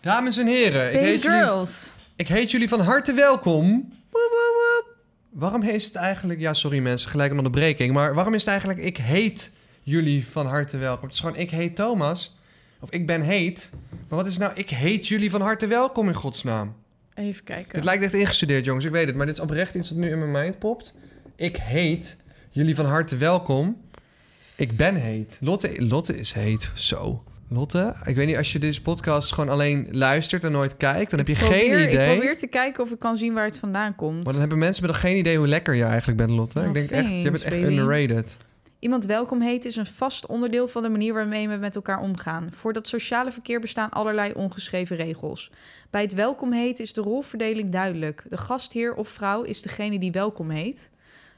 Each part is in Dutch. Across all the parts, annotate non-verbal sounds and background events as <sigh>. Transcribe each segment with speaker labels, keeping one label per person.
Speaker 1: Dames en heren, ik
Speaker 2: Baby
Speaker 1: heet, jullie,
Speaker 2: girls.
Speaker 1: ik heet jullie van harte welkom.
Speaker 2: Woep, woep, woep.
Speaker 1: Waarom is het eigenlijk... Ja, sorry mensen, gelijk een onderbreking. Maar waarom is het eigenlijk ik heet jullie van harte welkom? Het is gewoon ik heet Thomas. Of ik ben heet. Maar wat is nou ik heet jullie van harte welkom in godsnaam?
Speaker 2: Even kijken.
Speaker 1: Het lijkt echt ingestudeerd, jongens. Ik weet het. Maar dit is oprecht iets dat nu in mijn mind popt. Ik heet jullie van harte welkom. Ik ben heet. Lotte, Lotte is heet. Zo. Lotte, ik weet niet, als je deze podcast gewoon alleen luistert en nooit kijkt, dan heb je
Speaker 2: Probeer-
Speaker 1: geen idee.
Speaker 2: Ik probeer te kijken of ik kan zien waar het vandaan komt.
Speaker 1: Maar dan hebben mensen met nog geen idee hoe lekker je eigenlijk bent, Lotte.
Speaker 2: Nou,
Speaker 1: ik denk echt, je bent
Speaker 2: thanks,
Speaker 1: echt
Speaker 2: baby.
Speaker 1: underrated.
Speaker 2: Iemand welkom heet is een vast onderdeel van de manier waarmee we met elkaar omgaan. Voor dat sociale verkeer bestaan allerlei ongeschreven regels. Bij het welkom heten is de rolverdeling duidelijk. De gastheer of vrouw is degene die welkom heet.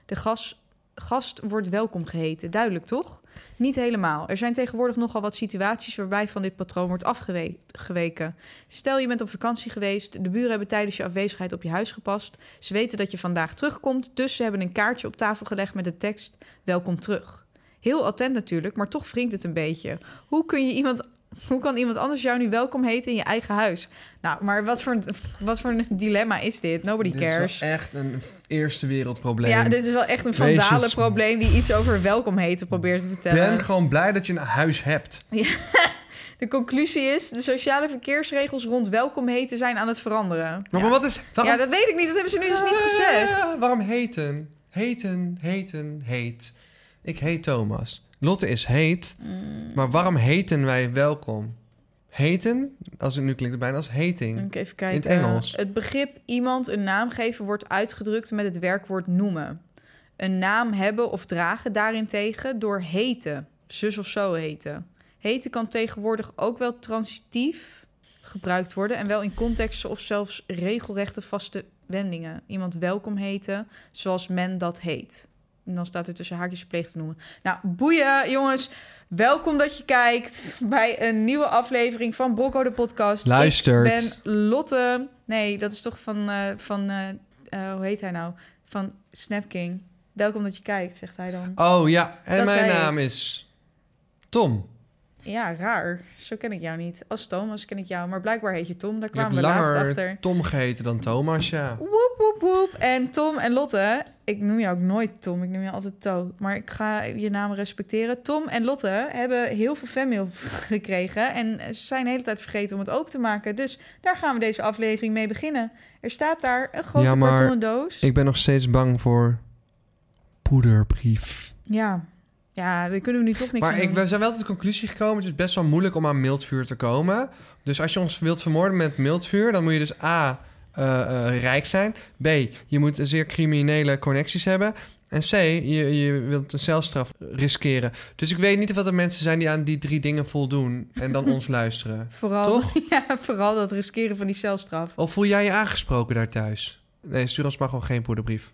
Speaker 2: De gas, gast wordt welkom geheten. Duidelijk toch? Niet helemaal. Er zijn tegenwoordig nogal wat situaties waarbij van dit patroon wordt afgeweken. Stel je bent op vakantie geweest, de buren hebben tijdens je afwezigheid op je huis gepast. Ze weten dat je vandaag terugkomt, dus ze hebben een kaartje op tafel gelegd met de tekst welkom terug. Heel attent natuurlijk, maar toch wringt het een beetje. Hoe, kun je iemand, hoe kan iemand anders jou nu welkom heten in je eigen huis? Nou, maar wat voor, een- wat voor een dilemma is dit? Nobody
Speaker 1: Dit
Speaker 2: cares.
Speaker 1: is wel echt een eerste wereldprobleem.
Speaker 2: Ja, dit is wel echt een
Speaker 1: Wees eens-
Speaker 2: vandalen probleem die iets over welkom heten probeert te vertellen.
Speaker 1: ben gewoon blij dat je een huis hebt.
Speaker 2: De conclusie is, de sociale verkeersregels rond welkom heten zijn aan het veranderen.
Speaker 1: Maar, maar wat is... Waarom,
Speaker 2: Ja, dat weet ik niet. Dat hebben ze nu dus niet gezegd.
Speaker 1: Ah, waarom heten? Heten, heten, heet. Ik heet Thomas. Lotte is heet.
Speaker 2: Mm.
Speaker 1: Maar waarom heten wij welkom? Heten, als het nu klinkt het bijna als hating.
Speaker 2: Ik even kijken.
Speaker 1: In het Engels.
Speaker 2: Het begrip iemand een naam geven wordt uitgedrukt met het werkwoord noemen. Een naam hebben of dragen daarentegen door heten. Zus of zo heten. Heten kan tegenwoordig ook wel transitief gebruikt worden... en wel in contexten of zelfs regelrechte vaste wendingen. Iemand welkom heten, zoals men dat heet. En dan staat er tussen haakjes pleeg te noemen. Nou, boeien jongens. Welkom dat je kijkt bij een nieuwe aflevering van Brocco de podcast.
Speaker 1: Luistert.
Speaker 2: Ik ben Lotte. Nee, dat is toch van, eh, van eh, eh, hoe heet hij nou? Van Snapking. Welkom dat je kijkt, zegt hij dan.
Speaker 1: Oh ja, en
Speaker 2: Dat
Speaker 1: mijn
Speaker 2: zei ik.
Speaker 1: naam is Tom.
Speaker 2: Ja, raar. Zo ken ik jou niet. Als Thomas ken ik jou, maar blijkbaar heet je Tom. Daar
Speaker 1: Ik heb
Speaker 2: kwamen we laatst achter.
Speaker 1: langer Tom geheten dan Thomas, ja.
Speaker 2: Woep, woep, woep. En Tom en Lotte, ik noem jou ook nooit Tom, ik noem je altijd To. Maar ik ga je naam respecteren. Tom en Lotte hebben heel veel fanmail <laughs> gekregen. En ze zijn de hele tijd vergeten om het open te maken. Dus daar gaan we deze aflevering mee beginnen. Er staat daar een grote
Speaker 1: Ja, maar
Speaker 2: kartonnen doos.
Speaker 1: Ik ben nog steeds bang voor poederbrief.
Speaker 2: Ja. ja, daar kunnen we nu toch niks
Speaker 1: Maar
Speaker 2: aan
Speaker 1: ik,
Speaker 2: doen.
Speaker 1: we zijn wel tot de conclusie gekomen... het is best wel moeilijk om aan mildvuur te komen. Dus als je ons wilt vermoorden met mildvuur... dan moet je dus A, eh, eh, rijk zijn. B, je moet zeer criminele connecties hebben. En C, je, je wilt een celstraf riskeren. Dus ik weet niet of dat er mensen zijn die aan die drie dingen voldoen... en dan
Speaker 2: <laughs>
Speaker 1: ons luisteren.
Speaker 2: Vooral,
Speaker 1: Toch?
Speaker 2: <laughs> Ja, vooral dat riskeren van die celstraf.
Speaker 1: Of voel jij je aangesproken daar thuis? Nee, stuur ons maar gewoon geen poederbrief.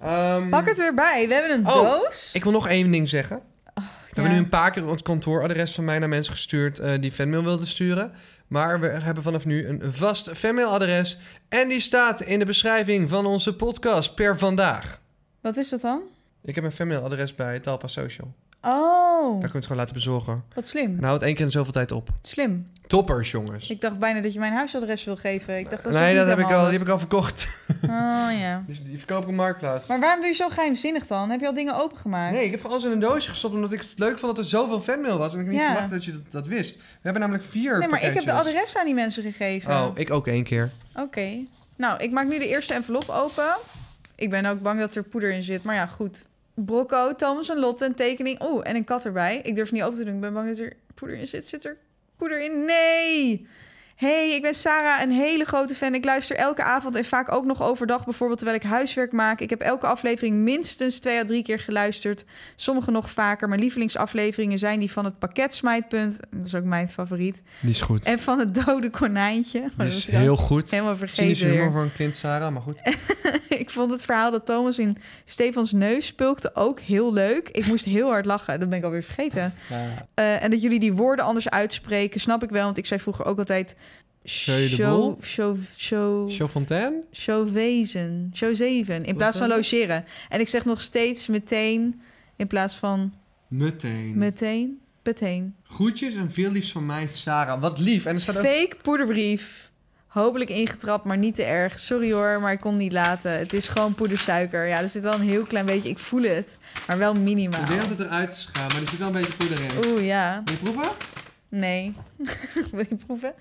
Speaker 1: Ehm,
Speaker 2: Pak het erbij. We hebben een
Speaker 1: Oh,
Speaker 2: doos.
Speaker 1: Ik wil nog één ding zeggen. We hebben
Speaker 2: Oh, Ja.
Speaker 1: nu een paar keer ons kantooradres van mij naar mensen gestuurd eh, die fanmail wilden sturen. Maar we hebben vanaf nu een vast fanmailadres. En die staat in de beschrijving van onze podcast per vandaag.
Speaker 2: Wat is dat dan?
Speaker 1: Ik heb een fanmailadres bij Talpa Social.
Speaker 2: Oh,
Speaker 1: Daar Nou. kunt u het gewoon laten bezorgen.
Speaker 2: wat slim.
Speaker 1: En hou het één keer in zoveel tijd op.
Speaker 2: Slim.
Speaker 1: Toppers, jongens.
Speaker 2: Ik dacht bijna dat je mijn huisadres wil geven. Ik dacht, dat is
Speaker 1: nee,
Speaker 2: toch
Speaker 1: dat
Speaker 2: niet
Speaker 1: heb ik, al,
Speaker 2: helemaal
Speaker 1: die heb ik al verkocht. <laughs>
Speaker 2: handig? Oh ja.
Speaker 1: Dus die verkoop ik op Marktplaats.
Speaker 2: Maar waarom doe je zo geheimzinnig dan? Heb je al dingen opengemaakt?
Speaker 1: Nee, ik heb gewoon alles in een doosje gestopt omdat ik het leuk vond dat er zoveel fanmail was. En ik niet
Speaker 2: Ja.
Speaker 1: verwacht dat je dat, dat wist. We hebben namelijk vier
Speaker 2: Nee, maar ik heb de
Speaker 1: pakketjes.
Speaker 2: adres aan die mensen gegeven.
Speaker 1: Oh, ik ook één keer.
Speaker 2: Oké. Nou, ik maak nu de eerste envelop open. Ik ben ook bang dat er poeder in zit, maar ja, goed. Brocco, Thomas en Lotte, een tekening. Oeh, en een kat erbij. Ik durf het niet open te doen. Ik ben bang dat er poeder in zit. Zit er poeder in? Nee! Hey, ik ben Sarah, een hele grote fan. Ik luister elke avond en vaak ook nog overdag, bijvoorbeeld terwijl ik huiswerk maak. Ik heb elke aflevering minstens twee à drie keer geluisterd. Sommige nog vaker. Mijn lievelingsafleveringen zijn die van het pakket Smijtpunt. Dat is ook mijn favoriet.
Speaker 1: Die is goed.
Speaker 2: En van het dode konijntje. <laughs> Oh,
Speaker 1: Die
Speaker 2: dat
Speaker 1: is
Speaker 2: was ik al
Speaker 1: heel goed.
Speaker 2: helemaal
Speaker 1: Cynische
Speaker 2: vergeten. weer.
Speaker 1: humor voor een kind, Sarah, maar goed.
Speaker 2: <laughs> Ik vond het verhaal dat Thomas in Stefans neus spulkte ook heel leuk. Ik moest heel hard lachen. Dat ben ik alweer vergeten. Eh, en dat jullie die woorden anders uitspreken, snap ik wel. Want ik zei vroeger ook altijd...
Speaker 1: Show de
Speaker 2: show-
Speaker 1: boel.
Speaker 2: show- Show
Speaker 1: Show Fontaine?
Speaker 2: showwezen, showzeven. In plaats van
Speaker 1: dan?
Speaker 2: logeren. En ik zeg nog steeds meteen in plaats van
Speaker 1: Meteen.
Speaker 2: meteen. bed heen.
Speaker 1: Groetjes en veel liefst van mij, Sarah. Wat lief. En er staat ook...
Speaker 2: Fake poederbrief. Hopelijk ingetrapt, maar niet te erg. Sorry hoor, maar ik kon het niet laten. Het is gewoon poedersuiker. Ja, er zit wel een heel klein beetje. Ik voel het, maar wel minimaal.
Speaker 1: Ik weet dat het eruit is gegaan, maar er zit wel een beetje poeder in. Wil
Speaker 2: Oeh ja.
Speaker 1: je proeven?
Speaker 2: Nee. <laughs> Wil je proeven?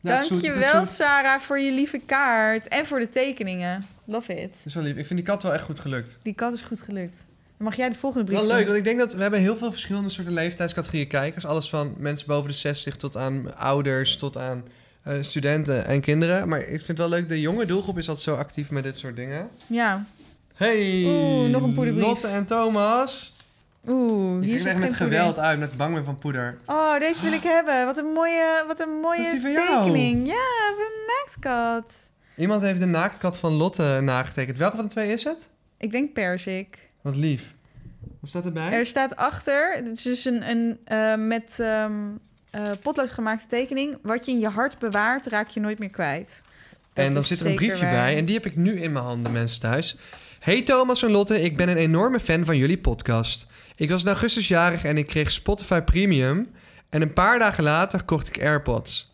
Speaker 1: Ja, het is zoet, het is
Speaker 2: Dankjewel,
Speaker 1: zoet.
Speaker 2: Sarah, voor je lieve kaart. En voor de tekeningen. Love it.
Speaker 1: Het is wel lief. Ik vind die kat wel echt goed gelukt.
Speaker 2: Die kat is goed gelukt. Dan mag jij de volgende brief
Speaker 1: Wel leuk,
Speaker 2: doen.
Speaker 1: want ik denk dat we hebben heel veel verschillende soorten leeftijdscategorieën kijkers. Alles van mensen boven de 60 tot aan ouders, tot aan eh, studenten en kinderen. Maar ik vind het wel leuk, de jonge doelgroep is altijd zo actief met dit soort dingen.
Speaker 2: Ja.
Speaker 1: Hey,
Speaker 2: Oeh, nog een poederbrief.
Speaker 1: Lotte en Thomas.
Speaker 2: Oeh,
Speaker 1: Die
Speaker 2: hier
Speaker 1: vind ik
Speaker 2: zit
Speaker 1: echt met
Speaker 2: geen poeder.
Speaker 1: geweld uit, met bang ben van poeder.
Speaker 2: Oh, deze wil ik hebben. Wat een mooie, wat een mooie
Speaker 1: Dat is die van jou.
Speaker 2: tekening. Ja, van een naaktkat.
Speaker 1: Iemand heeft de naaktkat van Lotte nagetekend. Welke van de twee is het?
Speaker 2: Ik denk persik.
Speaker 1: Wat lief. Wat staat erbij?
Speaker 2: Er staat achter, het is dus een, een eh, met ehm eh, potlood gemaakte tekening. Wat je in je hart bewaart, raak je nooit meer kwijt. Dat
Speaker 1: en dan
Speaker 2: is
Speaker 1: zit er een
Speaker 2: zeker
Speaker 1: briefje
Speaker 2: waar.
Speaker 1: bij en die heb ik nu in mijn handen, mensen thuis. Hey Thomas en Lotte, ik ben een enorme fan van jullie podcast. Ik was in augustus jarig en ik kreeg Spotify Premium. En een paar dagen later kocht ik AirPods.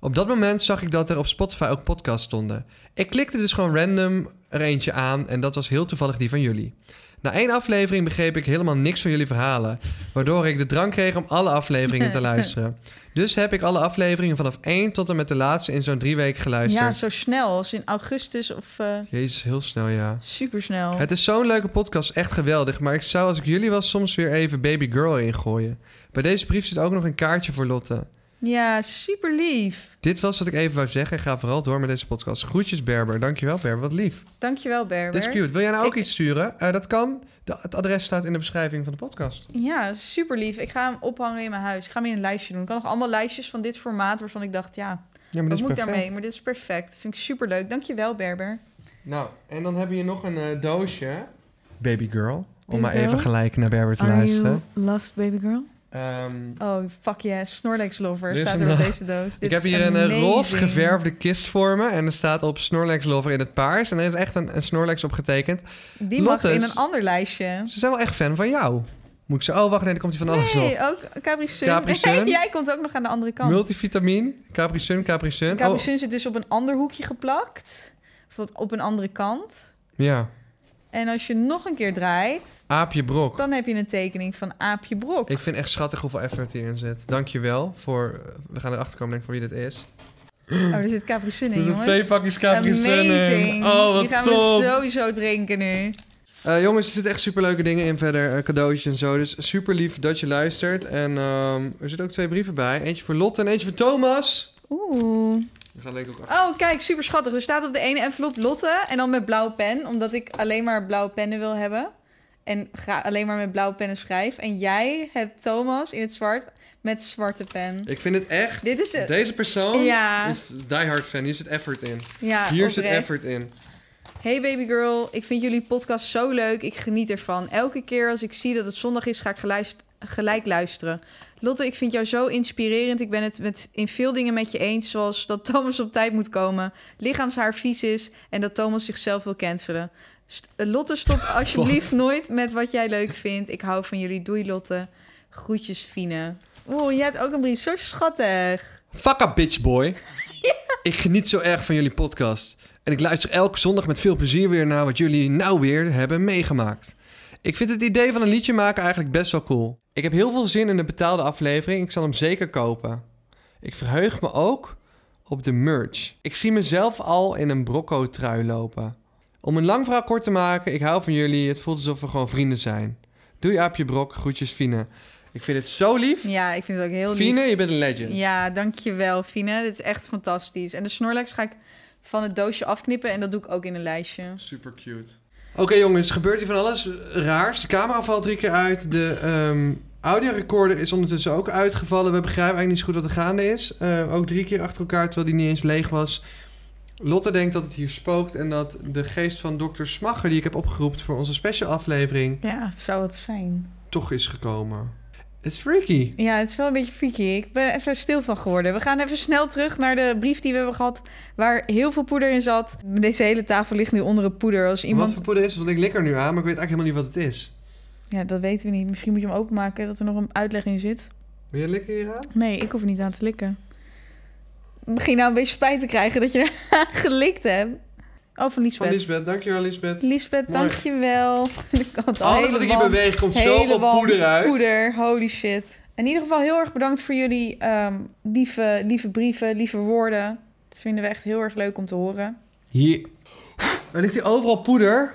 Speaker 1: Op dat moment zag ik dat er op Spotify ook podcasts stonden. Ik klikte dus gewoon random er eentje aan en dat was heel toevallig die van jullie. Na één aflevering begreep ik helemaal niks van jullie verhalen, waardoor ik de drang kreeg om alle afleveringen
Speaker 2: <laughs>
Speaker 1: te luisteren. Dus heb ik alle afleveringen vanaf één tot en met de laatste in zo'n drie weken geluisterd.
Speaker 2: Ja, zo snel. Als in augustus of eh
Speaker 1: Jezus, heel snel, ja.
Speaker 2: supersnel.
Speaker 1: Het is zo'n leuke podcast, echt geweldig. Maar ik zou als ik jullie was soms weer even Baby Girl ingooien. Bij deze brief zit ook nog een kaartje voor Lotte.
Speaker 2: Ja, super lief.
Speaker 1: Dit was wat ik even wou zeggen. Ga vooral door met deze podcast. Groetjes, Berber. Dankjewel, Berber. Wat lief.
Speaker 2: Dankjewel, Berber.
Speaker 1: Dit is cute. Wil jij nou ook
Speaker 2: Ik-
Speaker 1: iets sturen? Eh, dat kan. De- het adres staat in de beschrijving van de podcast.
Speaker 2: Ja, super lief. Ik ga hem ophangen in mijn huis. Ik ga hem in een lijstje doen. Ik had nog allemaal lijstjes van dit formaat waarvan ik dacht, ja,
Speaker 1: Ja, maar
Speaker 2: wat moet
Speaker 1: dit
Speaker 2: ik
Speaker 1: is perfect.
Speaker 2: daarmee? Maar dit is perfect. Dat vind ik super leuk. Dankjewel, Berber.
Speaker 1: Nou, en dan heb je nog een eh, doosje. Baby Girl. Om
Speaker 2: Baby
Speaker 1: maar
Speaker 2: Girl.
Speaker 1: even gelijk naar Berber te luisteren.
Speaker 2: lost, baby girl?
Speaker 1: Ehm,
Speaker 2: Oh, fuck yeah. Snorlax lover
Speaker 1: Dit is
Speaker 2: staat
Speaker 1: een- eh,
Speaker 2: er op deze doos. Dit
Speaker 1: ik heb
Speaker 2: is
Speaker 1: hier een eh,
Speaker 2: amazing.
Speaker 1: roze geverfde kist voor me. En er staat op Snorlax Lover in het paars. En er is echt een, een Snorlax op getekend.
Speaker 2: Die mag
Speaker 1: Lottes.
Speaker 2: in een ander lijstje.
Speaker 1: Ze zijn wel echt fan van jou. Moet ik ze... Oh, wacht, nee, dan komt hij van alles op.
Speaker 2: Nee, ook Capri Sun.
Speaker 1: Capri Sun.
Speaker 2: <laughs> Jij komt ook nog aan de andere kant.
Speaker 1: Multivitamine, Capri Sun, Capri Sun.
Speaker 2: Capri
Speaker 1: Oh,
Speaker 2: Sun zit dus op een ander hoekje geplakt. Of wat op een andere kant.
Speaker 1: Oh, ja.
Speaker 2: En als je nog een keer draait,
Speaker 1: Aapje Brok.
Speaker 2: dan heb je een tekening van Aapje Brok.
Speaker 1: Ik vind echt schattig hoeveel effort hierin zit. Dankjewel voor... eh, We gaan erachter komen, denk ik, voor wie dit is.
Speaker 2: Oh, er zit Capri Sun in, jongens.
Speaker 1: pakjes
Speaker 2: Amazing.
Speaker 1: Oh,
Speaker 2: Die gaan we sowieso drinken nu.
Speaker 1: Eh, jongens, er zitten echt superleuke dingen in verder. eh, cadeautjes en zo. Dus super lief dat je luistert. En ehm, er zitten ook twee brieven bij. Eentje voor Lotte en eentje voor Thomas.
Speaker 2: Oeh.
Speaker 1: We gaan denk ik ook achter.
Speaker 2: Oh, kijk, super schattig. Er staat op de ene envelop Lotte en dan met blauwe pen, omdat ik alleen maar blauwe pennen wil hebben. En ga alleen maar met blauwe pennen schrijf. En jij hebt Thomas in het zwart met zwarte pen.
Speaker 1: Ik vind het echt...
Speaker 2: Dit is het.
Speaker 1: Deze persoon
Speaker 2: Ja.
Speaker 1: is die hard fan. Hier zit effort in.
Speaker 2: Ja,
Speaker 1: Hier zit
Speaker 2: oprecht.
Speaker 1: effort in.
Speaker 2: Hey baby girl, ik vind jullie podcast zo leuk. Ik geniet ervan. Elke keer als ik zie dat het zondag is, ga ik geluist- gelijk luisteren. Lotte, ik vind jou zo inspirerend. Ik ben het met, in veel dingen met je eens, zoals dat <laughs> Thomas op tijd moet komen, lichaamshaar vies is en dat Thomas zichzelf wil cancelen. St- Lotte, stop alsjeblieft nooit met wat jij leuk vindt. Ik hou van jullie. Doei Lotte. Groetjes Fine. Oeh, jij hebt ook een brief. Zo schattig.
Speaker 1: Fuck up, bitch
Speaker 2: <laughs>
Speaker 1: boy. Ik geniet zo erg van jullie podcast. En ik luister elke zondag met veel plezier weer naar wat jullie nou weer hebben meegemaakt. Ik vind het idee van een liedje maken eigenlijk best wel cool. Ik heb heel veel zin in de betaalde aflevering. Ik zal hem zeker kopen. Ik verheug me ook op de merch. Ik zie mezelf al in een brocco-trui lopen. Om een lang verhaal kort te maken, ik hou van jullie. Het voelt alsof we gewoon vrienden zijn. Doei Aapje Brok, groetjes Fine. Ik vind het zo lief.
Speaker 2: Ja, ik vind het ook heel lief.
Speaker 1: Fine, je bent een legend.
Speaker 2: Ja, dankjewel, Fine. Dit is echt fantastisch. En de Snorlax ga ik van het doosje afknippen en dat doe ik ook in een lijstje.
Speaker 1: Super cute. Oké jongens, gebeurt hier van alles raars. De camera valt drie keer uit. De ehm audiorecorder is ondertussen ook uitgevallen. We begrijpen eigenlijk niet zo goed wat er gaande is. Eh, ook drie keer achter elkaar, terwijl die niet eens leeg was. Lotte denkt dat het hier spookt en dat de geest van dokter Smacher... die ik heb opgeroepen voor onze special aflevering,
Speaker 2: Ja, het zou wat zijn.
Speaker 1: toch is gekomen. Het is freaky.
Speaker 2: Ja, het is wel een beetje freaky. Ik ben er even stil van geworden. We gaan even snel terug naar de brief die we hebben gehad, waar heel veel poeder in zat. Deze hele tafel ligt nu onder het poeder. Als
Speaker 1: Wat
Speaker 2: iemand...
Speaker 1: voor poeder is het? Want ik lik er nu aan, maar ik weet eigenlijk helemaal niet wat het is.
Speaker 2: Ja, dat weten we niet. Misschien moet je hem openmaken, dat er nog een uitleg in zit.
Speaker 1: Wil je likken hieraan?
Speaker 2: Nee, ik hoef er niet aan te likken. Ik begin nou een beetje spijt te krijgen dat je er <laughs> gelikt hebt. Oh, van
Speaker 1: Van
Speaker 2: Lisbeth.
Speaker 1: Lisbeth, dankjewel Lisbeth.
Speaker 2: Lisbeth,
Speaker 1: Mooi.
Speaker 2: dankjewel. <laughs>
Speaker 1: Alles wat ik hier beweeg komt zoveel poeder uit.
Speaker 2: Poeder, holy shit. In ieder geval heel erg bedankt voor jullie ehm, lieve, lieve brieven, lieve woorden. Dat vinden we echt heel erg leuk om te horen.
Speaker 1: Hier. Er ligt hier overal poeder.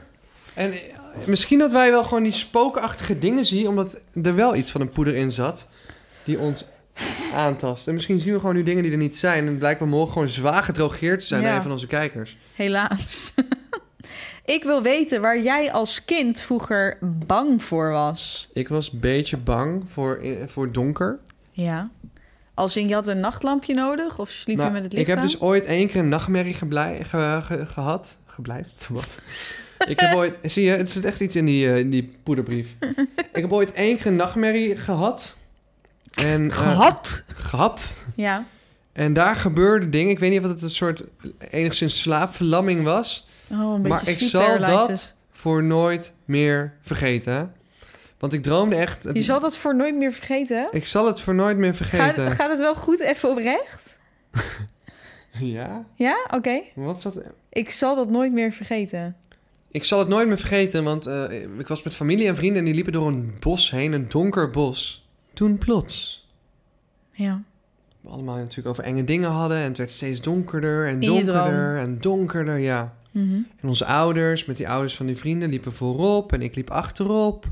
Speaker 1: En eh, misschien dat wij wel gewoon die spookachtige dingen zien, omdat er wel iets van een poeder in zat die ons aantast. En misschien zien we gewoon nu dingen die er niet zijn. En blijkbaar morgen gewoon zwaar gedrogeerd te zijn door
Speaker 2: Ja.
Speaker 1: een van onze kijkers.
Speaker 2: Helaas. <laughs> ik wil weten waar jij als kind vroeger bang voor was.
Speaker 1: Ik was een beetje bang voor, eh, voor donker.
Speaker 2: Ja. Als in, je had een nachtlampje nodig of sliep
Speaker 1: Nou,
Speaker 2: je met het licht
Speaker 1: ik heb
Speaker 2: aan?
Speaker 1: dus ooit één keer een nachtmerrie geblij, ge- ge- gehad. Geblijft? <laughs> Wat? ik heb
Speaker 2: <laughs>
Speaker 1: ooit... Zie je, er zit echt iets in die, eh, in die poederbrief. ik heb ooit één keer een nachtmerrie gehad. En, eh, gehad.
Speaker 2: Ja.
Speaker 1: En daar gebeurde dingen. Ik weet niet of het een soort enigszins slaapverlamming was.
Speaker 2: Oh, een beetje
Speaker 1: Maar ik
Speaker 2: sleep
Speaker 1: zal dat-
Speaker 2: paralysis.
Speaker 1: Voor nooit meer vergeten. Want ik droomde echt...
Speaker 2: Je zal dat voor nooit meer vergeten, hè?
Speaker 1: Ik zal het voor nooit meer
Speaker 2: Gaat,
Speaker 1: vergeten. <laughs>
Speaker 2: gaat het wel goed even oprecht?
Speaker 1: Ja?
Speaker 2: Ja, oké.
Speaker 1: Wat zat...
Speaker 2: Ik zal dat nooit meer vergeten.
Speaker 1: Ik zal het nooit meer vergeten, want eh, ik was met familie en vrienden en die liepen door een bos heen, een donker bos. Toen plots,
Speaker 2: Ja.
Speaker 1: we allemaal natuurlijk over enge dingen hadden en het werd steeds donkerder en
Speaker 2: In je
Speaker 1: donkerder en donkerder, ja.
Speaker 2: Mhm.
Speaker 1: En onze ouders, met die ouders van die vrienden, liepen voorop en ik liep achterop.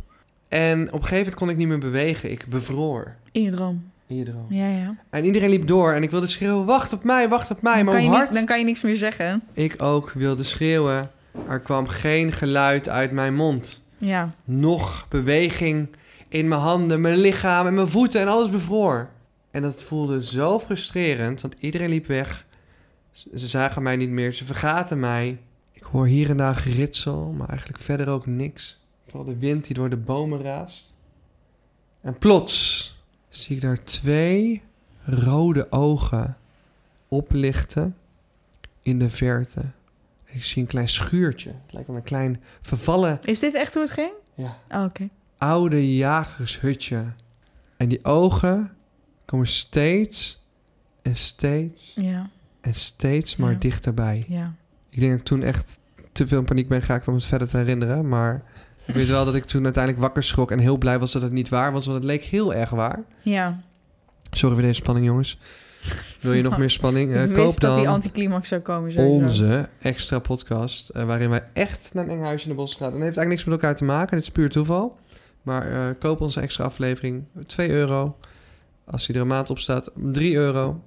Speaker 1: En op een gegeven moment kon ik niet meer bewegen, ik bevroor
Speaker 2: In je droom.
Speaker 1: in je droom.
Speaker 2: Ja, ja.
Speaker 1: En iedereen liep door en ik wilde schreeuwen, wacht op mij, wacht op mij,
Speaker 2: dan,
Speaker 1: maar
Speaker 2: kan
Speaker 1: hoe
Speaker 2: je
Speaker 1: hard...
Speaker 2: niet, dan kan je niks meer zeggen.
Speaker 1: Ik ook wilde schreeuwen, er kwam geen geluid uit mijn mond.
Speaker 2: Ja.
Speaker 1: nog beweging in mijn handen, mijn lichaam en mijn voeten en alles bevroor. En dat voelde zo frustrerend, want iedereen liep weg. Ze ze zagen mij niet meer, ze vergaten mij. Ik hoor hier en daar geritsel, maar eigenlijk verder ook niks. Vooral de wind die door de bomen raast. En plots zie ik daar twee rode ogen oplichten in de verte. Ik zie een klein schuurtje. Het lijkt wel een klein vervallen
Speaker 2: Is dit echt hoe het ging?
Speaker 1: Ja.
Speaker 2: Oh, oké.
Speaker 1: oude jagershutje. En die ogen komen steeds en steeds
Speaker 2: Ja,
Speaker 1: en steeds maar
Speaker 2: Ja.
Speaker 1: dichterbij.
Speaker 2: ja.
Speaker 1: Ik denk dat ik toen echt te veel in paniek ben geraakt om het verder te herinneren. Maar ik weet wel dat ik toen uiteindelijk wakker schrok en heel blij was dat het niet waar was. Want het leek heel erg waar.
Speaker 2: Ja.
Speaker 1: Sorry voor deze spanning, jongens. Wil je
Speaker 2: <laughs>
Speaker 1: nog meer spanning? Eh,
Speaker 2: ik wist
Speaker 1: koop
Speaker 2: dat die
Speaker 1: dan
Speaker 2: anticlimax zou komen. Sowieso.
Speaker 1: onze extra podcast. eh, waarin wij echt naar een eng huis in de bos gaan. En dat heeft eigenlijk niks met elkaar te maken. Dit is puur toeval. Maar eh, koop onze extra aflevering. 2 euro. Als die er een maand op staat, 3 euro.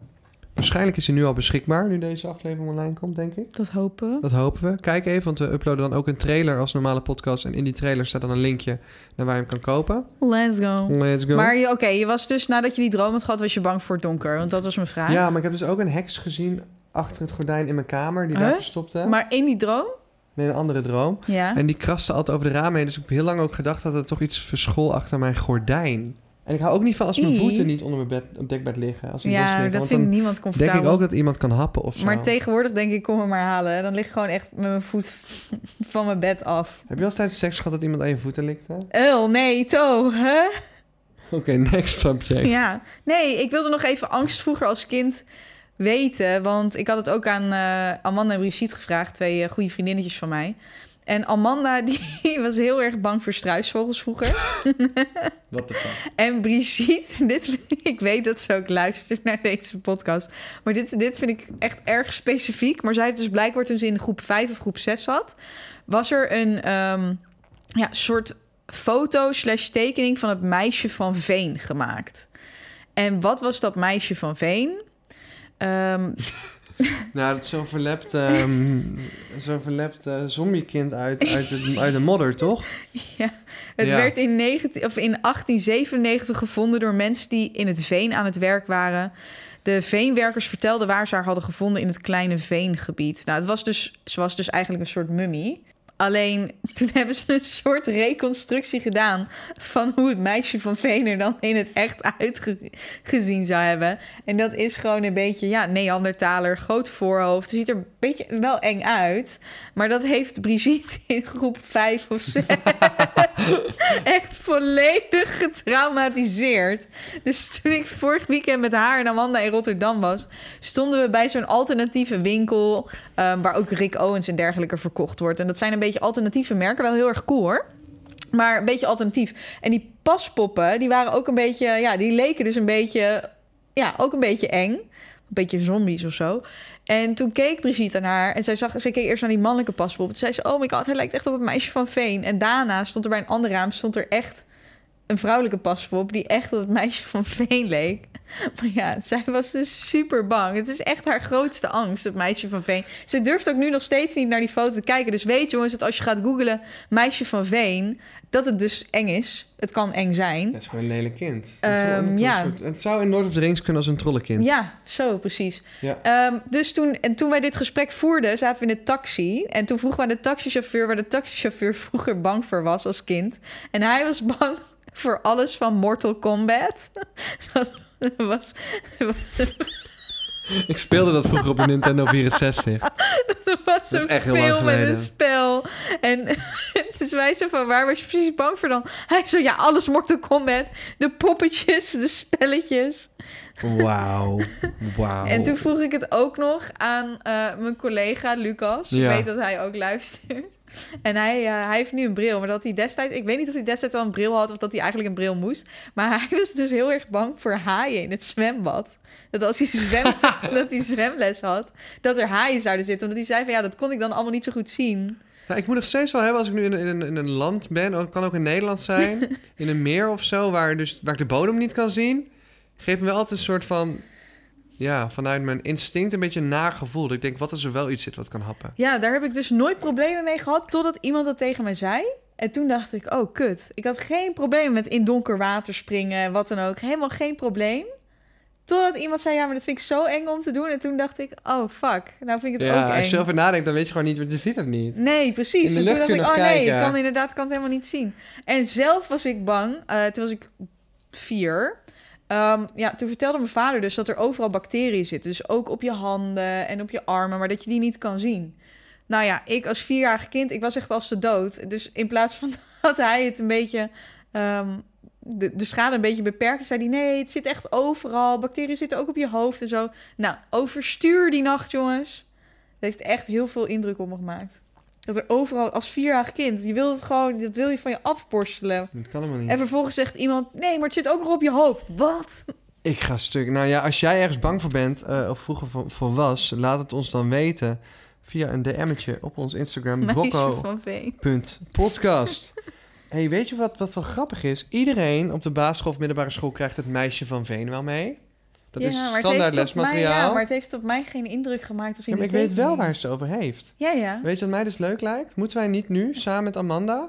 Speaker 1: Waarschijnlijk is hij nu al beschikbaar. Nu deze aflevering online komt, denk ik.
Speaker 2: Dat hopen we.
Speaker 1: Dat hopen we. Kijk even, want we uploaden dan ook een trailer als normale podcast. En in die trailer staat dan een linkje naar waar je hem kan kopen.
Speaker 2: Let's go.
Speaker 1: Let's go.
Speaker 2: Maar je- oké, je was dus nadat je die droom had gehad, was je bang voor het donker. Want dat was mijn vraag.
Speaker 1: Ja, maar ik heb dus ook een heks gezien achter het gordijn in mijn kamer. Die daar
Speaker 2: Huh?
Speaker 1: verstopt. hè?
Speaker 2: Maar in die droom?
Speaker 1: Nee, een andere droom.
Speaker 2: Ja.
Speaker 1: En die kraste altijd over de ramen heen. Dus ik heb heel lang ook gedacht dat er toch iets verschool achter mijn gordijn. En ik hou ook niet van als mijn
Speaker 2: Ie.
Speaker 1: voeten niet onder mijn bed, op dekbed liggen. Als die los
Speaker 2: ja,
Speaker 1: liggen.
Speaker 2: dat
Speaker 1: Want
Speaker 2: vindt
Speaker 1: dan
Speaker 2: niemand
Speaker 1: denk
Speaker 2: comfortabel.
Speaker 1: ik ook dat iemand kan happen of zo.
Speaker 2: Maar tegenwoordig denk ik, kom hem maar halen. Dan ligt gewoon echt met mijn voet <laughs> van mijn bed af.
Speaker 1: Heb je al eens tijdens seks gehad dat iemand aan je voeten likte? <laughs> Oké,
Speaker 2: Oh, nee, To, hè?
Speaker 1: next subject.
Speaker 2: Ja. Nee, ik wilde nog even angst vroeger als kind weten. Want ik had het ook aan eh, Amanda en Brigitte gevraagd. Twee eh, goede vriendinnetjes van mij. En Amanda, <laughs> die was heel erg bang voor struisvogels vroeger.
Speaker 1: Wat de fuck?
Speaker 2: En Brigitte, <laughs> dit, ik weet dat ze ook luistert naar deze podcast. Maar dit, dit vind ik echt erg specifiek. Maar zij heeft dus blijkbaar toen ze in groep 5 of groep 6 zat... was er een ehm, ja, soort foto slash tekening van het meisje van Veen gemaakt. En wat was dat meisje van Veen? Ehm,
Speaker 1: Nou, dat is zo'n verlept, ehm, <laughs> zo'n verlept eh, zombiekind uit, uit, de, uit de modder, toch?
Speaker 2: het
Speaker 1: Ja.
Speaker 2: werd in, 19, of in 1897 gevonden door mensen die in het veen aan het werk waren. De veenwerkers vertelden waar ze haar hadden gevonden in het kleine veengebied. Nou, het was dus, ze was dus eigenlijk een soort mummie. Alleen <laughs> toen hebben ze een soort reconstructie gedaan van hoe het meisje van Vener dan in het echt uitgezien zou hebben. En dat is gewoon een beetje, ja, Neandertaler, groot voorhoofd. Ziet er een beetje wel eng uit. Maar dat heeft Brigitte in groep 5 of 6 <laughs> echt volledig getraumatiseerd. Dus toen ik vorig weekend met haar en Amanda in Rotterdam was, stonden we bij zo'n alternatieve winkel. ehm, waar ook Rick Owens en dergelijke verkocht wordt. En dat zijn een beetje alternatieve merken, wel heel erg cool hoor. Maar een beetje alternatief. En die paspoppen, die waren ook een beetje. Ja, die leken dus een beetje. Ja, ook een beetje eng. Een beetje zombies of zo. En toen keek Brigitte naar haar en zij, zag, zij keek eerst naar die mannelijke paspop. Toen zei ze: Oh my god, hij lijkt echt op het meisje van Veen. En daarna stond er bij een ander raam stond er echt een vrouwelijke paspop die echt op het meisje van Veen leek. <laughs> Maar ja, zij was dus super bang. Het is echt haar grootste angst, het meisje van Veen. Ze durft ook nu nog steeds niet naar die foto te kijken. Dus weet jongens dat als je gaat googlen meisje van Veen, dat het dus eng is. Het kan eng zijn.
Speaker 1: Het is gewoon een lelijk kind.
Speaker 2: Ehm,
Speaker 1: Een tro- een tro-
Speaker 2: ja.
Speaker 1: soort- het zou in Lord of the Rings kunnen als een trollenkind.
Speaker 2: Ja, zo precies.
Speaker 1: Ja.
Speaker 2: Ehm, dus toen, en toen wij dit gesprek voerden, zaten we in de taxi. En toen vroegen we aan de taxichauffeur waar de taxichauffeur vroeger bang voor was als kind. En hij was <laughs> bang voor alles van Mortal Kombat. <laughs> Dat was, dat was, <laughs>
Speaker 1: Ik speelde dat vroeger op een Nintendo 64.
Speaker 2: dat was
Speaker 1: Dat is
Speaker 2: een
Speaker 1: echt heel lang
Speaker 2: film en een
Speaker 1: geleden.
Speaker 2: spel. En <laughs> dus wij zo van, waar was je precies bang voor dan? Hij zo, ja, alles Mortal Kombat. De poppetjes, de spelletjes.
Speaker 1: Wauw. Wauw.
Speaker 2: En toen vroeg ik het ook nog aan eh, mijn collega Lucas.
Speaker 1: Ja.
Speaker 2: Ik weet dat hij ook luistert. En hij, eh, hij heeft nu een bril, maar dat hij destijds... Ik weet niet of hij destijds al een bril had of dat hij eigenlijk een bril moest. Maar hij was dus heel erg bang voor haaien in het zwembad. Dat als hij,
Speaker 1: <laughs>
Speaker 2: zwem, dat hij zwemles had, dat er haaien zouden zitten. Omdat hij zei van ja, dat kon ik dan allemaal niet zo goed zien.
Speaker 1: Nou, ik moet nog steeds wel hebben als ik nu in, een- in, een- in een land ben. Het kan ook in Nederland
Speaker 2: <laughs>
Speaker 1: zijn. in een meer of zo, waar, dus, waar ik de bodem niet kan zien. Geeft me wel altijd een soort van... Ja, vanuit mijn instinct een beetje een nagevoel. Dat ik denk, wat als er wel iets zit wat kan happen?
Speaker 2: Ja, daar heb ik dus nooit problemen mee gehad totdat iemand dat tegen mij zei. En toen dacht ik, oh kut. Ik had geen probleem met in donker water springen, wat dan ook. Helemaal geen probleem. Totdat iemand zei, ja, maar dat vind ik zo eng om te doen. En toen dacht ik, oh fuck, nou vind ik het ook
Speaker 1: Ja,
Speaker 2: eng.
Speaker 1: als je erover nadenkt, dan weet je gewoon niet, want je ziet het niet.
Speaker 2: Nee, precies.
Speaker 1: In de
Speaker 2: En toen
Speaker 1: lucht
Speaker 2: dacht ik,
Speaker 1: kunnen
Speaker 2: oh nee, ik
Speaker 1: kijken.
Speaker 2: kan inderdaad ik kan het helemaal niet zien. En zelf was ik bang. eh, toen was ik vier. Ehm, ja, toen vertelde mijn vader dus dat er overal bacteriën zitten. Dus ook op je handen en op je armen, maar dat je die niet kan zien. Nou ja, ik als vierjarig kind, ik was echt als de dood. Dus in plaats van <laughs> dat hij het een beetje... ehm, de, de schade een beetje beperkt, zei hij... nee, het zit echt overal. Bacteriën zitten ook op je hoofd en zo. Nou, overstuur die nacht, jongens. Dat heeft echt heel veel indruk op me gemaakt. Dat er overal, als vierjarig kind, je wil het gewoon, dat wil je van je afborstelen.
Speaker 1: Dat kan helemaal niet.
Speaker 2: En vervolgens zegt iemand, nee, maar het zit ook nog op je hoofd. Wat? <laughs>
Speaker 1: Ik ga stuk. Nou ja, als jij ergens bang voor bent eh, of vroeger voor, voor was, laat het ons dan weten via een DM'tje op ons Instagram
Speaker 2: Meisje
Speaker 1: brocco.podcast.
Speaker 2: van Veen. <laughs>
Speaker 1: hey, weet je wat, wat wel grappig is? Iedereen op de basisschool of middelbare school krijgt het meisje van Veen wel mee. Dat is
Speaker 2: maar het
Speaker 1: standaard
Speaker 2: heeft op mij-
Speaker 1: lesmateriaal.
Speaker 2: ja, maar het heeft op mij geen indruk gemaakt als in
Speaker 1: Ja, maar
Speaker 2: de
Speaker 1: ik weet wel
Speaker 2: tekening.
Speaker 1: waar ze het over heeft.
Speaker 2: Ja, ja.
Speaker 1: Weet je wat mij dus leuk lijkt? Moeten wij niet nu samen met Amanda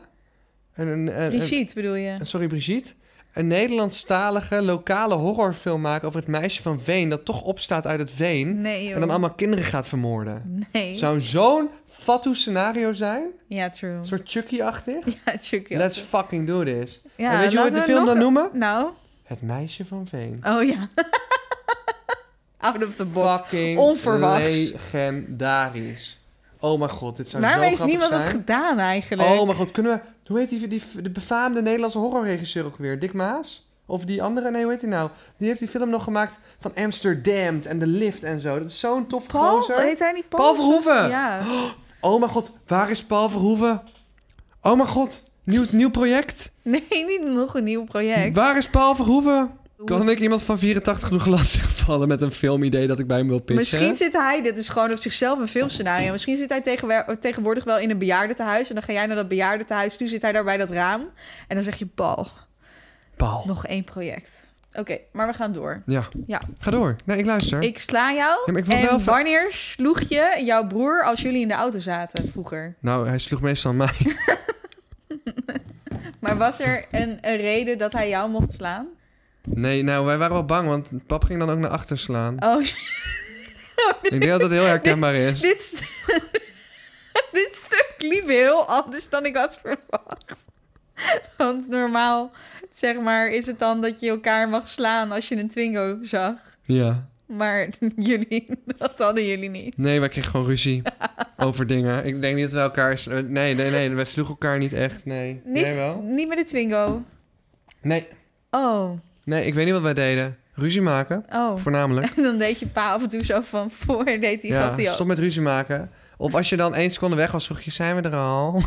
Speaker 1: een, een, een, een,
Speaker 2: Brigitte bedoel je?
Speaker 1: sorry Brigitte, een Nederlandstalige lokale horrorfilm maken over het meisje van Veen dat toch opstaat uit het Veen
Speaker 2: Nee, joh.
Speaker 1: hm? en dan allemaal kinderen gaat vermoorden.
Speaker 2: Nee.
Speaker 1: Zou zo'n fatsoen scenario zijn?
Speaker 2: Ja, true.
Speaker 1: Een soort Chucky-achtig?
Speaker 2: Ja, Chucky.
Speaker 1: Let's fucking do this.
Speaker 2: Ja,
Speaker 1: en weet je hoe we
Speaker 2: laten
Speaker 1: de
Speaker 2: we
Speaker 1: film
Speaker 2: nog-
Speaker 1: dan noemen?
Speaker 2: Nou,
Speaker 1: Het meisje van Veen.
Speaker 2: oh ja. <laughs> Out of the box.
Speaker 1: Fucking
Speaker 2: Onverwachts.
Speaker 1: legendarisch. Oh mijn god, dit zou
Speaker 2: Waarom
Speaker 1: zo
Speaker 2: heeft
Speaker 1: grappig
Speaker 2: niemand
Speaker 1: zijn.
Speaker 2: dat gedaan eigenlijk?
Speaker 1: Oh mijn god, kunnen we... Hoe heet die, die de befaamde Nederlandse horrorregisseur ook weer? Dick Maas? Of die andere? Nee, hoe heet die nou? Die heeft die film nog gemaakt van Amsterdam en de lift en zo. Dat is zo'n tof
Speaker 2: Paul?
Speaker 1: gozer.
Speaker 2: Heet hij niet Paul?
Speaker 1: Paul Verhoeven!
Speaker 2: Ja.
Speaker 1: Oh mijn god, waar is Paul Verhoeven? Oh mijn god, nieuw, nieuw project.
Speaker 2: Nee, niet nog een nieuw project.
Speaker 1: Waar is Paul Verhoeven? Kan ik iemand van 84 nog <laughs> lastigvallen met een filmidee dat ik bij hem wil pitchen?
Speaker 2: Misschien zit hij, dit is gewoon op zichzelf een filmscenario. Misschien zit hij tegenwer- tegenwoordig wel in een bejaardentehuis. En dan ga jij naar dat bejaardentehuis. Nu zit hij daar bij dat raam. En dan zeg je, bal,
Speaker 1: Paul.
Speaker 2: nog één project. Oké, maar we gaan door.
Speaker 1: Ja.
Speaker 2: Ja.
Speaker 1: Ga door. Nee, ik luister.
Speaker 2: Ik sla jou.
Speaker 1: Ja, maar ik wil
Speaker 2: en
Speaker 1: wel even-
Speaker 2: wanneer sloeg je jouw broer als jullie in de auto zaten vroeger?
Speaker 1: Nou, hij sloeg meestal mij. <laughs>
Speaker 2: Maar was er een, een reden dat hij jou mocht slaan?
Speaker 1: Nee, nou, wij waren wel bang, want pap ging dan ook naar achter slaan.
Speaker 2: Oh,
Speaker 1: Ik denk dat dat heel herkenbaar is.
Speaker 2: <laughs> dit, st- dit stuk liep heel anders dan ik had verwacht. Want normaal, zeg maar, is het dan dat je elkaar mag slaan als je een Twingo zag.
Speaker 1: Ja.
Speaker 2: Maar <laughs> jullie, dat hadden jullie niet.
Speaker 1: Nee, wij kregen gewoon
Speaker 2: <laughs>
Speaker 1: ruzie over dingen. Ik denk niet dat we elkaar... sl- Nee, nee, nee. Wij sloegen elkaar niet echt. Nee.
Speaker 2: Niet,
Speaker 1: Jij wel?
Speaker 2: niet met de Twingo.
Speaker 1: Nee.
Speaker 2: Oh,
Speaker 1: Nee, ik weet niet wat wij deden. Ruzie maken.
Speaker 2: oh.
Speaker 1: Voornamelijk.
Speaker 2: En <laughs> dan deed je pa af en toe zo van voor, deed hij,
Speaker 1: ja,
Speaker 2: gaat hij ook.
Speaker 1: stop met ruzie maken. Of als je dan één seconde weg was, vroeg je, zijn we er al?
Speaker 2: <laughs>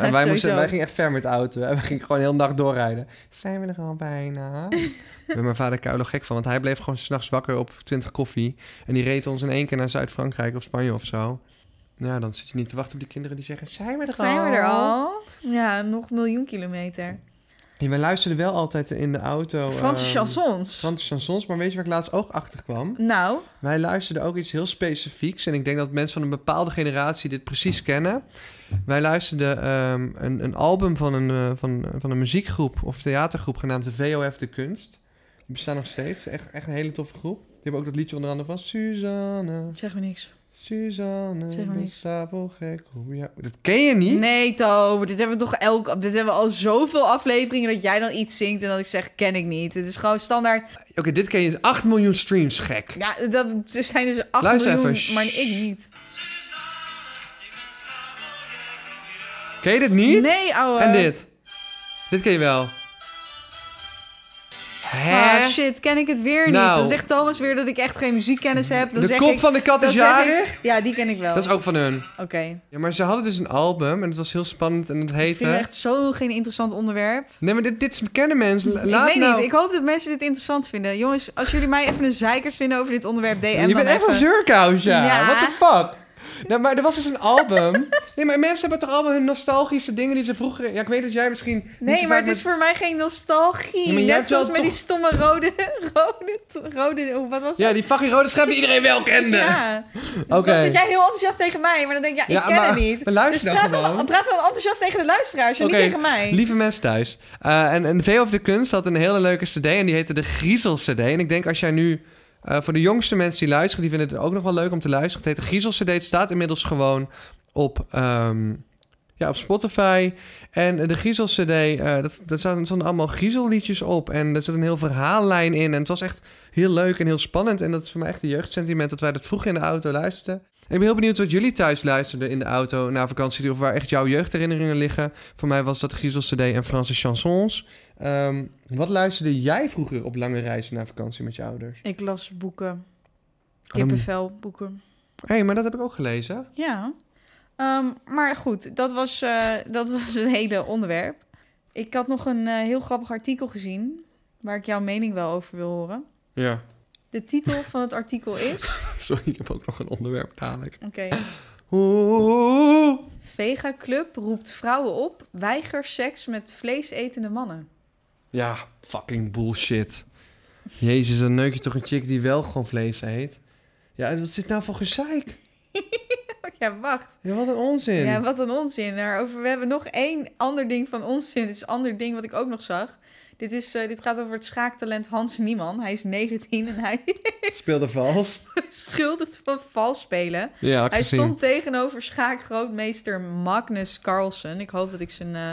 Speaker 1: en wij, moesten,
Speaker 2: sowieso.
Speaker 1: wij gingen echt ver met de auto. En we gingen gewoon heel de dag doorrijden. Zijn we er al
Speaker 2: <laughs>
Speaker 1: bijna? Daar werd mijn vader kuilo gek van. Want hij bleef gewoon s'nachts wakker op 20 koffie. En die reed ons in één keer naar Zuid-Frankrijk of Spanje of zo. Nou, dan zit je niet te wachten op die kinderen die zeggen... Zijn we er al?
Speaker 2: Zijn we er al? Ja, nog een miljoen kilometer.
Speaker 1: Ja, wij luisterden wel altijd in de auto...
Speaker 2: Franse
Speaker 1: ehm,
Speaker 2: chansons.
Speaker 1: Franse chansons. Maar weet je waar ik laatst ook achter kwam?
Speaker 2: Nou,
Speaker 1: Wij luisterden ook iets heel specifieks. En ik denk dat mensen van een bepaalde generatie dit precies kennen. Wij luisterden ehm, een, een album van een, eh, van, van een muziekgroep of theatergroep genaamd de VOF De Kunst. Die bestaan nog steeds. Echt, echt een hele toffe groep. Die hebben ook dat liedje onder andere van Suzanne,
Speaker 2: zeg me niks.
Speaker 1: Suzanne,
Speaker 2: Zeg maar
Speaker 1: de
Speaker 2: niks.
Speaker 1: stapelgek. hoe jou- Dat ken je niet?
Speaker 2: Nee, To, dit hebben we toch elk, dit hebben we al zoveel afleveringen dat jij dan iets zingt en dat ik zeg, ken ik niet. Het is gewoon standaard.
Speaker 1: Oké, dit ken je. 8 miljoen streams, gek.
Speaker 2: Ja, dat er zijn dus 8
Speaker 1: Luister
Speaker 2: miljoen,
Speaker 1: even.
Speaker 2: maar ik niet.
Speaker 1: Ken je dit niet?
Speaker 2: Nee, ouwe.
Speaker 1: En dit? Dit ken je wel. Hè?
Speaker 2: Ah, shit, ken ik het weer niet.
Speaker 1: Nou.
Speaker 2: Dan zegt Thomas weer dat ik echt geen muziekkennis heb. Dan
Speaker 1: De
Speaker 2: zeg
Speaker 1: kop
Speaker 2: ik,
Speaker 1: van de kat
Speaker 2: dan
Speaker 1: is
Speaker 2: zeg
Speaker 1: jarig.
Speaker 2: ik, Ja, die ken ik wel.
Speaker 1: Dat is ook van hun.
Speaker 2: Oké.
Speaker 1: Ja, maar ze hadden dus een album en het was heel spannend en het
Speaker 2: Ik vind het
Speaker 1: heette...
Speaker 2: echt zo geen interessant onderwerp.
Speaker 1: Nee, maar dit, dit is bekende mensen. La-
Speaker 2: ik
Speaker 1: Laat
Speaker 2: weet
Speaker 1: nou...
Speaker 2: niet. Ik hoop dat mensen dit interessant vinden. Jongens, als jullie mij even een zeikers vinden over dit onderwerp, DM
Speaker 1: je
Speaker 2: dan
Speaker 1: bent echt
Speaker 2: even.
Speaker 1: een zurkous, ja.
Speaker 2: Ja.
Speaker 1: What the fuck? Nou, maar er was dus een
Speaker 2: <laughs>
Speaker 1: album. nee, maar mensen hebben toch allemaal hun nostalgische dingen die ze vroeger... Ja, ik weet dat jij misschien... niet zo
Speaker 2: Nee, maar
Speaker 1: vaak
Speaker 2: het is voor mij geen nostalgie.
Speaker 1: Ja, maar jij
Speaker 2: Net
Speaker 1: hebt wel
Speaker 2: zoals met die
Speaker 1: toch-
Speaker 2: stomme rode, <laughs> rode, rode, hoe- wat was
Speaker 1: met- Ja,
Speaker 2: dat?
Speaker 1: die fucking rode schep die iedereen wel kende. <laughs>
Speaker 2: Ja.
Speaker 1: Oké.
Speaker 2: Dus dan zit jij heel enthousiast tegen mij, maar dan denk ik, ja, ik
Speaker 1: Ja,
Speaker 2: ken
Speaker 1: maar-
Speaker 2: het
Speaker 1: <laughs>
Speaker 2: niet.
Speaker 1: maar luister
Speaker 2: dus
Speaker 1: dan
Speaker 2: praat dan,
Speaker 1: gewoon.
Speaker 2: praat dan enthousiast tegen de luisteraars en
Speaker 1: Oké,
Speaker 2: niet tegen mij.
Speaker 1: Lieve mensen thuis. Eh, en, en V of de Kunst had een hele leuke cd en die heette de Griezel cd. En ik denk als jij nu... eh, voor de jongste mensen die luisteren, die vinden het ook nog wel leuk om te luisteren. Het heet de Griezel cd. Het staat inmiddels gewoon op, ehm, ja, op Spotify. En de Griezel cd, eh, dat, dat zaten, er stonden allemaal griezelliedjes op. En er zat een heel verhaallijn in. En het was echt heel leuk en heel spannend. En dat is voor mij echt een jeugdsentiment dat wij dat vroeger in de auto luisterden. En ik ben heel benieuwd wat jullie thuis luisterden in de auto na vakantie. Of waar echt jouw jeugdherinneringen liggen. Voor mij was dat Griezel CD en Franse chansons. Ehm, wat luisterde jij vroeger op lange reizen na vakantie met je ouders?
Speaker 2: Ik las
Speaker 1: Oh,
Speaker 2: boeken.
Speaker 1: dan-
Speaker 2: Kippenvel boeken.
Speaker 1: Hé, hey, maar dat heb ik ook gelezen.
Speaker 2: Ja. Ehm, maar goed, dat was, eh, dat was een hele onderwerp. Ik had nog een eh, heel grappig artikel gezien, waar ik jouw mening wel over wil horen.
Speaker 1: Ja.
Speaker 2: De titel van het artikel is...
Speaker 1: <laughs> Sorry, ik heb ook nog een onderwerp dadelijk.
Speaker 2: Oké.
Speaker 1: Oeh.
Speaker 2: Vega Club roept vrouwen op, weiger seks met vleesetende mannen. <laughs>
Speaker 1: Ja, fucking bullshit. Jezus, dan neuk je toch een chick die wel gewoon vlees eet? Ja, wat is dit nou voor gezeik?
Speaker 2: Ja, wacht.
Speaker 1: Ja, wat een onzin.
Speaker 2: Ja, wat een onzin. Daarover, we hebben nog één ander ding van onzin. Dus een ander ding wat ik ook nog zag. Dit, is, eh, dit gaat over het schaaktalent Hans Nieman. Hij is 19 en hij <laughs>
Speaker 1: Speelde vals.
Speaker 2: is schuldig van vals spelen.
Speaker 1: Ja, had ik
Speaker 2: Hij
Speaker 1: gezien.
Speaker 2: stond tegenover schaakgrootmeester Magnus Carlsen. Ik hoop dat ik zijn eh,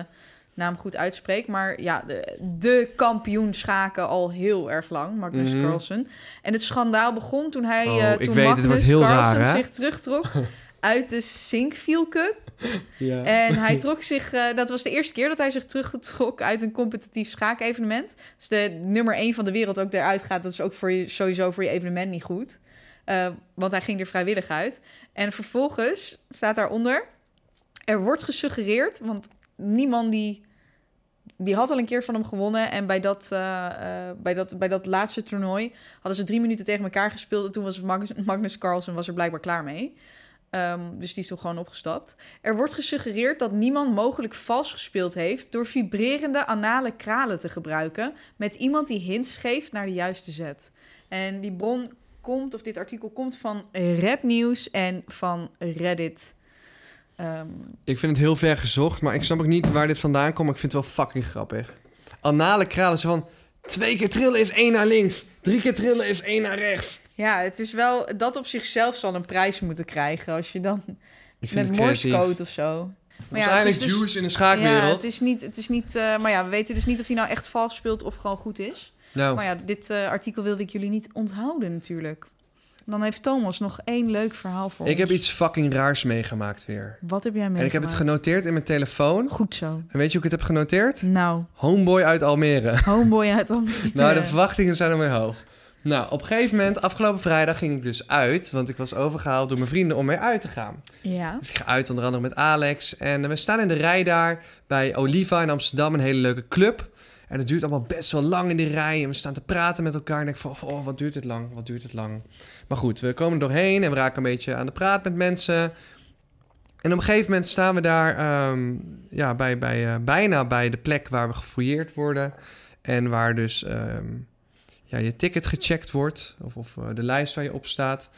Speaker 2: naam goed uitspreek. Maar ja, de, de kampioen schaken al heel erg lang, Magnus
Speaker 1: Mhm.
Speaker 2: Carlsen. En het schandaal begon toen hij,
Speaker 1: Oh,
Speaker 2: eh,
Speaker 1: ik
Speaker 2: toen
Speaker 1: weet, dit
Speaker 2: Magnus
Speaker 1: wordt heel raar,
Speaker 2: Carlsen
Speaker 1: hè?
Speaker 2: zich
Speaker 1: <laughs>
Speaker 2: terugtrok uit de Sinkfield Cup.
Speaker 1: Ja.
Speaker 2: En hij trok zich, eh, dat was de eerste keer dat hij zich teruggetrok uit een competitief schaakevenement. Dus de nummer één van de wereld ook eruit gaat, dat is ook voor je, sowieso voor je evenement niet goed. Eh, want hij ging er vrijwillig uit. En vervolgens staat daaronder, er wordt gesuggereerd, want niemand die, die had al een keer van hem gewonnen. En bij dat, eh, eh, bij dat, bij dat laatste toernooi hadden ze drie minuten tegen elkaar gespeeld. En toen was Magnus, Magnus Carlsen was er blijkbaar klaar mee. Ehm, dus die is toen gewoon opgestapt. Er wordt gesuggereerd dat niemand mogelijk vals gespeeld heeft door vibrerende anale kralen te gebruiken met iemand die hints geeft naar de juiste zet. En die bron komt, of dit artikel komt van rapnieuws en van Reddit. Ehm,
Speaker 1: Ik vind het heel ver gezocht, maar ik snap ook niet waar dit vandaan komt. maar Ik vind het wel fucking grappig. Anale kralen ze van... Twee keer trillen is één naar links. Drie keer trillen is één naar rechts.
Speaker 2: ja, het is wel dat op zichzelf zal een prijs moeten krijgen als je dan
Speaker 1: Ik vind
Speaker 2: met
Speaker 1: het creatief.
Speaker 2: morsecode of zo.
Speaker 1: Maar ja, eigenlijk
Speaker 2: dus-
Speaker 1: Jews in de
Speaker 2: Ja,
Speaker 1: schaakwereld.
Speaker 2: het is niet, het is niet eh, maar ja, we weten dus niet of hij nou echt vals speelt of gewoon goed is.
Speaker 1: nou,
Speaker 2: Maar ja, dit eh, artikel wilde ik jullie niet onthouden natuurlijk. Dan heeft Thomas nog één leuk verhaal voor
Speaker 1: ik
Speaker 2: ons.
Speaker 1: heb iets fucking raars meegemaakt weer.
Speaker 2: Wat heb jij meegemaakt?
Speaker 1: En ik heb het genoteerd in mijn telefoon.
Speaker 2: Goed zo.
Speaker 1: En weet je hoe ik het heb genoteerd?
Speaker 2: Nou,
Speaker 1: Homeboy uit Almere. <laughs>
Speaker 2: homeboy uit Almere.
Speaker 1: Nou, de verwachtingen zijn ermee hoog. Nou, op een gegeven moment, afgelopen vrijdag ging ik dus uit. Want ik was overgehaald door mijn vrienden om mee uit te gaan.
Speaker 2: Ja.
Speaker 1: Dus ik ga uit onder andere met Alex. En eh, we staan in de rij daar bij Oliva in Amsterdam, een hele leuke club. En het duurt allemaal best wel lang in die rij. En we staan te praten met elkaar. En ik van, oh, wat duurt dit lang, wat duurt dit lang. Maar goed, we komen er doorheen en we raken een beetje aan de praat met mensen. En op een gegeven moment staan we daar ehm, ja, bij, bij, eh, bijna bij de plek waar we gefouilleerd worden. En waar dus ehm, ja, je ticket gecheckt wordt. Of, of eh, de lijst waar je op staat.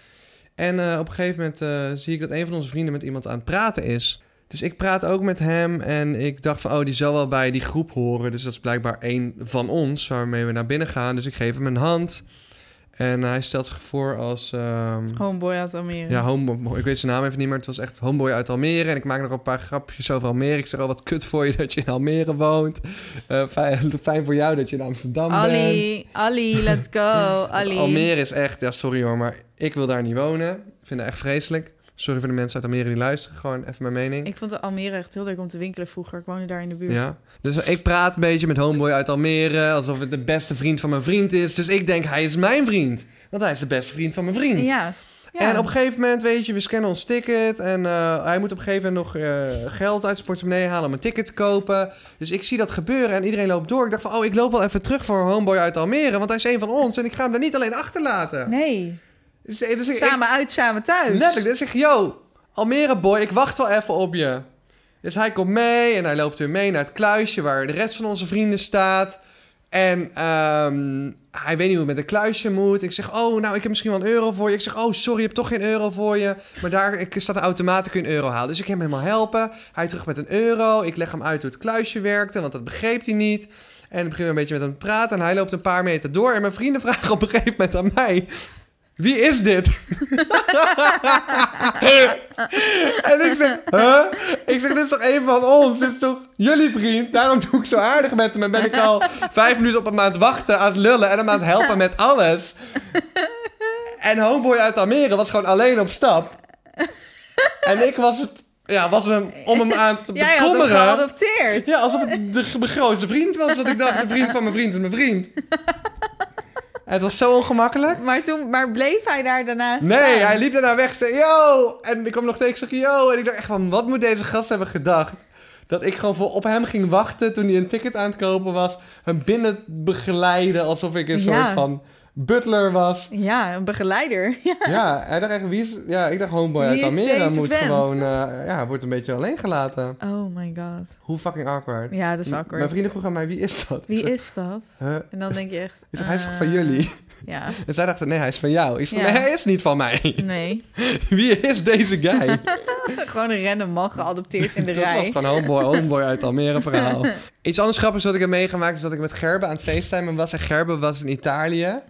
Speaker 1: En eh, op een gegeven moment eh, zie ik dat een van onze vrienden met iemand aan het praten is. Dus ik praat ook met hem en ik dacht van, oh, die zal wel bij die groep horen. Dus dat is blijkbaar één van ons waarmee we naar binnen gaan. Dus ik geef hem een hand. En hij stelt zich voor als... ehm,
Speaker 2: Homeboy uit Almere.
Speaker 1: ja, homeboy. Ik weet zijn naam even niet, maar het was echt homeboy uit Almere. En ik maak nog een paar grapjes over Almere. Ik zeg al, wat kut voor je dat je in Almere woont. Eh, fijn, <laughs> fijn voor jou dat je in Amsterdam bent.
Speaker 2: Ali, Ali, let's
Speaker 1: <laughs>
Speaker 2: go, Ali.
Speaker 1: Almere is echt, ja sorry hoor, maar ik wil daar niet wonen. Ik vind het echt vreselijk. Sorry voor de mensen uit Almere die luisteren. Gewoon even mijn mening.
Speaker 2: Ik vond de Almere echt heel leuk om te winkelen vroeger. Ik woonde daar in de buurt.
Speaker 1: Ja. Dus ik praat een beetje met homeboy uit Almere. Alsof het de beste vriend van mijn vriend is. Dus ik denk, hij is mijn vriend. Want hij is de beste vriend van mijn vriend.
Speaker 2: Ja. Ja.
Speaker 1: En op een gegeven moment, weet je, we scannen ons ticket. En eh, hij moet op een gegeven moment nog eh, geld uit zijn portemonnee halen om een ticket te kopen. Dus ik zie dat gebeuren en iedereen loopt door. Ik dacht van, oh, ik loop wel even terug voor Homeboy uit Almere. Want hij is een van ons en ik ga hem daar niet alleen achterlaten.
Speaker 2: Nee.
Speaker 1: Dus, eh, dus ik- ik,
Speaker 2: Samen uit, samen thuis.
Speaker 1: Letterlijk, dus ik zeg, yo, Almere boy, ik wacht wel even op je. Dus hij komt mee en hij loopt weer mee naar het kluisje waar de rest van onze vrienden staat. En ehm, hij weet niet hoe het met het kluisje moet. Ik zeg, oh, nou, ik heb misschien wel een euro voor je. Ik zeg, oh, sorry, je hebt toch geen euro voor je. Maar daar ik, staat een automaat, daar kun je een euro halen. Dus ik heb hem helemaal helpen. Hij terug met een euro. Ik leg hem uit hoe het kluisje werkte, want dat begreep hij niet. En ik begin een beetje met hem te praten. En hij loopt een paar meter door. En mijn vrienden <laughs> vragen op een gegeven moment aan mij... Wie is dit?
Speaker 2: <laughs>
Speaker 1: en ik zeg, huh? Ik zeg, dit is toch een van ons? Dit is toch jullie vriend? Daarom doe ik zo aardig met hem. En ben ik al vijf minuten op hem aan het wachten, aan het lullen en hem aan het helpen met alles. En homeboy uit Almere was gewoon alleen op stap. En ik was het, ja, was hem om hem aan te
Speaker 2: <laughs> Jij had hem
Speaker 1: bekommeren.
Speaker 2: geadopteerd.
Speaker 1: Ja, alsof het de g- mijn grootste vriend was. Want ik dacht, de vriend van mijn vriend is mijn
Speaker 2: <laughs>
Speaker 1: vriend. Het was zo ongemakkelijk.
Speaker 2: Maar, toen, maar bleef hij daar daarnaast
Speaker 1: Nee,
Speaker 2: staan?
Speaker 1: hij liep daarna weg. Zei, yo! En ik kwam nog tegen, ik zeg, yo! En ik dacht echt van, wat moet deze gast hebben gedacht? Dat ik gewoon voor op hem ging wachten toen hij een ticket aan het kopen was. Hem binnen begeleiden alsof ik een
Speaker 2: Ja.
Speaker 1: soort van butler
Speaker 2: <laughs>
Speaker 1: was.
Speaker 2: Ja, een begeleider. <laughs> Ja.
Speaker 1: Ja, hij dacht echt, wie is... Ja, ik dacht, homeboy
Speaker 2: Wie
Speaker 1: uit
Speaker 2: is
Speaker 1: Almere
Speaker 2: deze
Speaker 1: moet
Speaker 2: vent?
Speaker 1: gewoon... eh, ja, wordt een beetje alleen gelaten.
Speaker 2: Oh my god.
Speaker 1: Hoe fucking awkward.
Speaker 2: Ja, dat is
Speaker 1: M-
Speaker 2: awkward.
Speaker 1: Mijn vrienden vroegen aan mij, wie is dat? Ik
Speaker 2: Wie
Speaker 1: zeg,
Speaker 2: is dat?
Speaker 1: huh?
Speaker 2: En dan denk je echt...
Speaker 1: Ik zeg, hij is
Speaker 2: eh,
Speaker 1: toch van jullie?
Speaker 2: Ja,
Speaker 1: En zij dachten, nee, hij is van jou. Ik zeg,
Speaker 2: Ja.
Speaker 1: nee, hij is niet van mij. <laughs>
Speaker 2: nee.
Speaker 1: Wie is deze guy?
Speaker 2: <laughs> Gewoon een random man geadopteerd in
Speaker 1: <laughs>
Speaker 2: de
Speaker 1: Dat was
Speaker 2: rij.
Speaker 1: gewoon homeboy, homeboy uit Almere
Speaker 2: <laughs>
Speaker 1: verhaal. Iets anders grappigs wat ik heb meegemaakt... is dat ik met Gerben aan het facetimen was. En Gerben was in Italië.
Speaker 2: <laughs>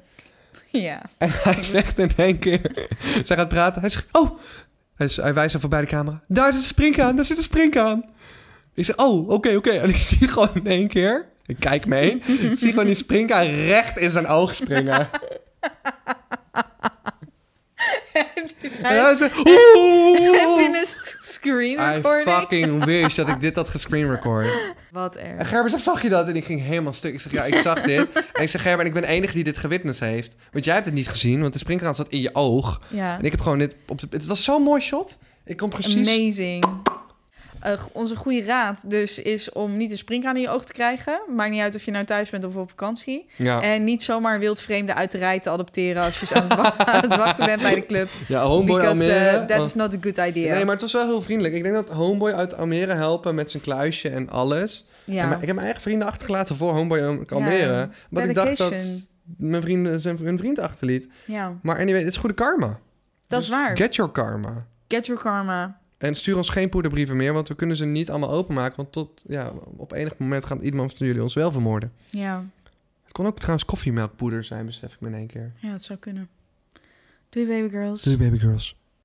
Speaker 2: Ja.
Speaker 1: En
Speaker 2: Mhm.
Speaker 1: hij zegt in één keer... <laughs> Zij gaat praten. Hij zegt, oh... Hij, hij wijst dan voorbij de camera. Daar zit een springkaan, daar zit een springkaan. Ik zeg, oh, oké, oké. En ik <laughs> zie gewoon in één keer... Ik kijk mee. ik zie gewoon die springkaan recht in zijn oog
Speaker 2: <laughs>
Speaker 1: springen. En
Speaker 2: Hij
Speaker 1: hij zegt, oeh!
Speaker 2: heeft in een s- screen
Speaker 1: I
Speaker 2: recording. <laughs>
Speaker 1: fucking wish dat ik dit had gescreenrecord.
Speaker 2: Wat
Speaker 1: En
Speaker 2: erg.
Speaker 1: Gerber zegt, zag je dat? En ik ging helemaal stuk. Ik zeg, ja, ik zag dit. En ik zeg, Gerber, en ik ben de enige die dit gewitnessd heeft. Want jij hebt het niet gezien, want de springkraan zat in je oog.
Speaker 2: Ja.
Speaker 1: En ik heb gewoon dit... Op de, het was zo'n mooi shot. Ik kon precies...
Speaker 2: Amazing. Eh, g- onze goede raad dus is om niet een springkaan in je oog te krijgen. Maakt niet uit of je nou thuis bent of op vakantie.
Speaker 1: Ja,
Speaker 2: En niet zomaar een wild vreemde uit de rij te adopteren als je ze aan het, wa- <laughs> aan het wachten bent bij de club.
Speaker 1: ja Homeboy
Speaker 2: Because
Speaker 1: Almere.
Speaker 2: eh, that
Speaker 1: want-
Speaker 2: is not a good idea.
Speaker 1: Nee, maar het was wel heel vriendelijk. Ik denk dat Homeboy uit Almere helpen met zijn kluisje en alles. En
Speaker 2: ja.
Speaker 1: mijn- ik heb mijn eigen vrienden achtergelaten voor Homeboy uit Almere.
Speaker 2: Ja,
Speaker 1: Want ik dacht dat
Speaker 2: dedication.
Speaker 1: mijn vrienden zijn hun vriend achterliet.
Speaker 2: ja,
Speaker 1: Maar anyway, het is goede karma.
Speaker 2: dat is waar. Get,
Speaker 1: Dus Get your karma.
Speaker 2: your karma.
Speaker 1: En stuur ons geen poederbrieven meer, want we kunnen ze niet allemaal openmaken. Want tot, ja, op enig moment gaat iemand van jullie ons wel vermoorden.
Speaker 2: Ja.
Speaker 1: Het kon ook trouwens koffiemelkpoeder zijn, besef ik me in één keer.
Speaker 2: ja, dat zou kunnen. Doei baby girls.
Speaker 1: baby girls.